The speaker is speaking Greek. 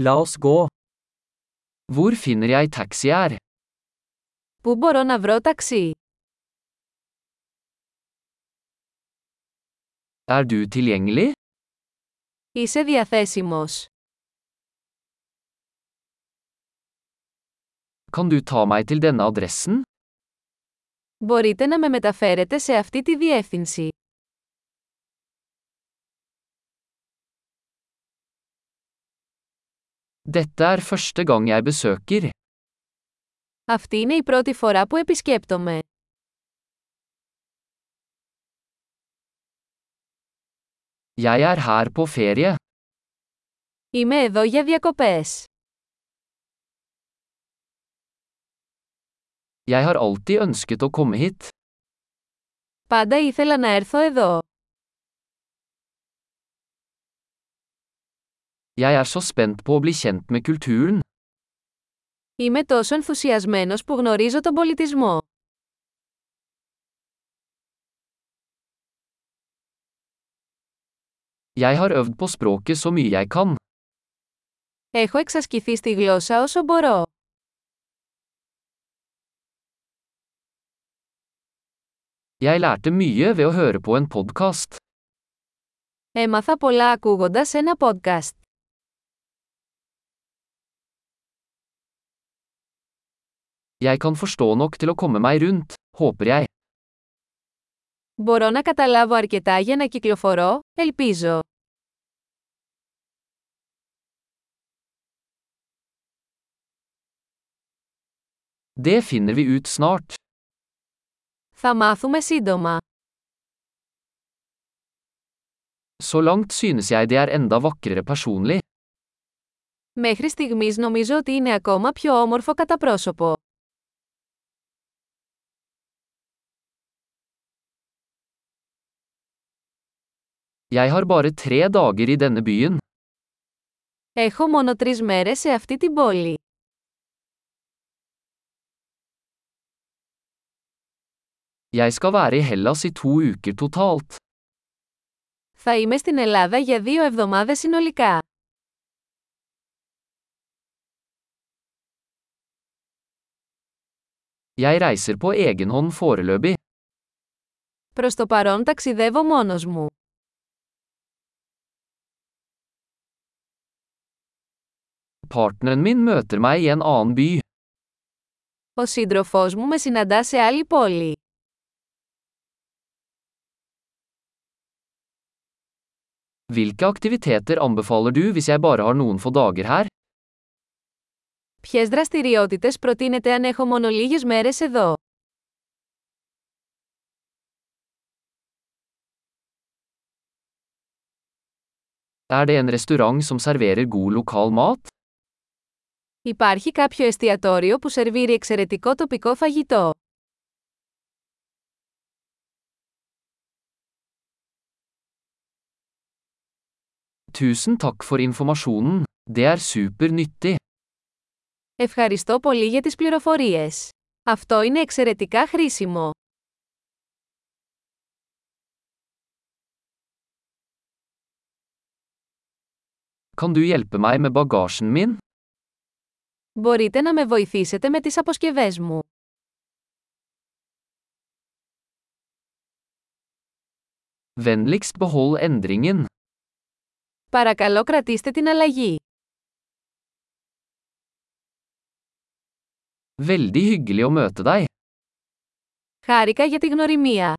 La oss gå. Hvor finner jeg taxi her? Πού μπορώ να βρω ταξί? Er du tilgjengelig? Είσαι διαθέσιμος. Kan du ta meg til denne adressen? Μπορείτε να με μεταφέρετε σε αυτή τη διεύθυνση. Dette er første gang jeg besøker. Αυτή είναι η πρώτη φορά που επισκέπτομαι. Jeg er her på ferie. Είμαι εδώ για διακοπές. Jeg har alltid ønsket å komme hit. Πάντα ήθελα να έρθω εδώ. Jeg er så spent på å bli kjent med kulturen. Είμαι τόσο ενθουσιασμένος που γνωρίζω τον πολιτισμό. Jeg har øvd på språket så mye jeg kan. Έχω εξασκηθεί στη γλώσσα όσο μπορώ. Jeg lærte mye ved å høre på en podkast. Έμαθα πολλά ακούγοντας ένα podcast. Jeg kan forstå nok til å komme meg rundt, håper jeg. Μπορώ να καταλάβω αρκετά για να κυκλοφορώ, ελπίζω. Det finner vi ut snart. Θα μάθουμε σύντομα. Så langt synes jeg det er enda vakrere personlig. Μέχρι στιγμής νομίζω ότι είναι ακόμα πιο όμορφο κατά πρόσωπο. Jeg har bare tre dager i denne byen. Έχω μόνο τρεις μέρες σε αυτή την πόλη. Jeg skal være i Hellas i to uker totalt. Θα είμαι στην Ελλάδα για δύο εβδομάδες συνολικά. Jeg reiser på egen hånd foreløpig. Προς το παρόν ταξιδεύω μόνος μου. Partneren min møter meg i en annen by. Ο σύντροφός μου με συναντά σε άλλη πόλη. Hvilke aktiviteter anbefaler du hvis jeg bare har noen få dager her? Ποιες δραστηριότητες προτείνετε αν έχω μόνο λίγες μέρες εδώ. Er det en restaurant som serverer god lokal mat? Υπάρχει κάποιο εστιατόριο που σερβίρει εξαιρετικό τοπικό φαγητό. Tusen takk for informasjonen. Det er supernyttig. Ευχαριστώ πολύ για τις πληροφορίες. Αυτό είναι εξαιρετικά χρήσιμο. Kan du hjelpe meg med bagasjen min? Μπορείτε να με βοηθήσετε με τις αποσκευές μου. Vennligst behold endringen. Παρακαλώ κρατήστε την αλλαγή. Veldig hyggelig å møte deg. Χάρηκα για τη γνωριμία.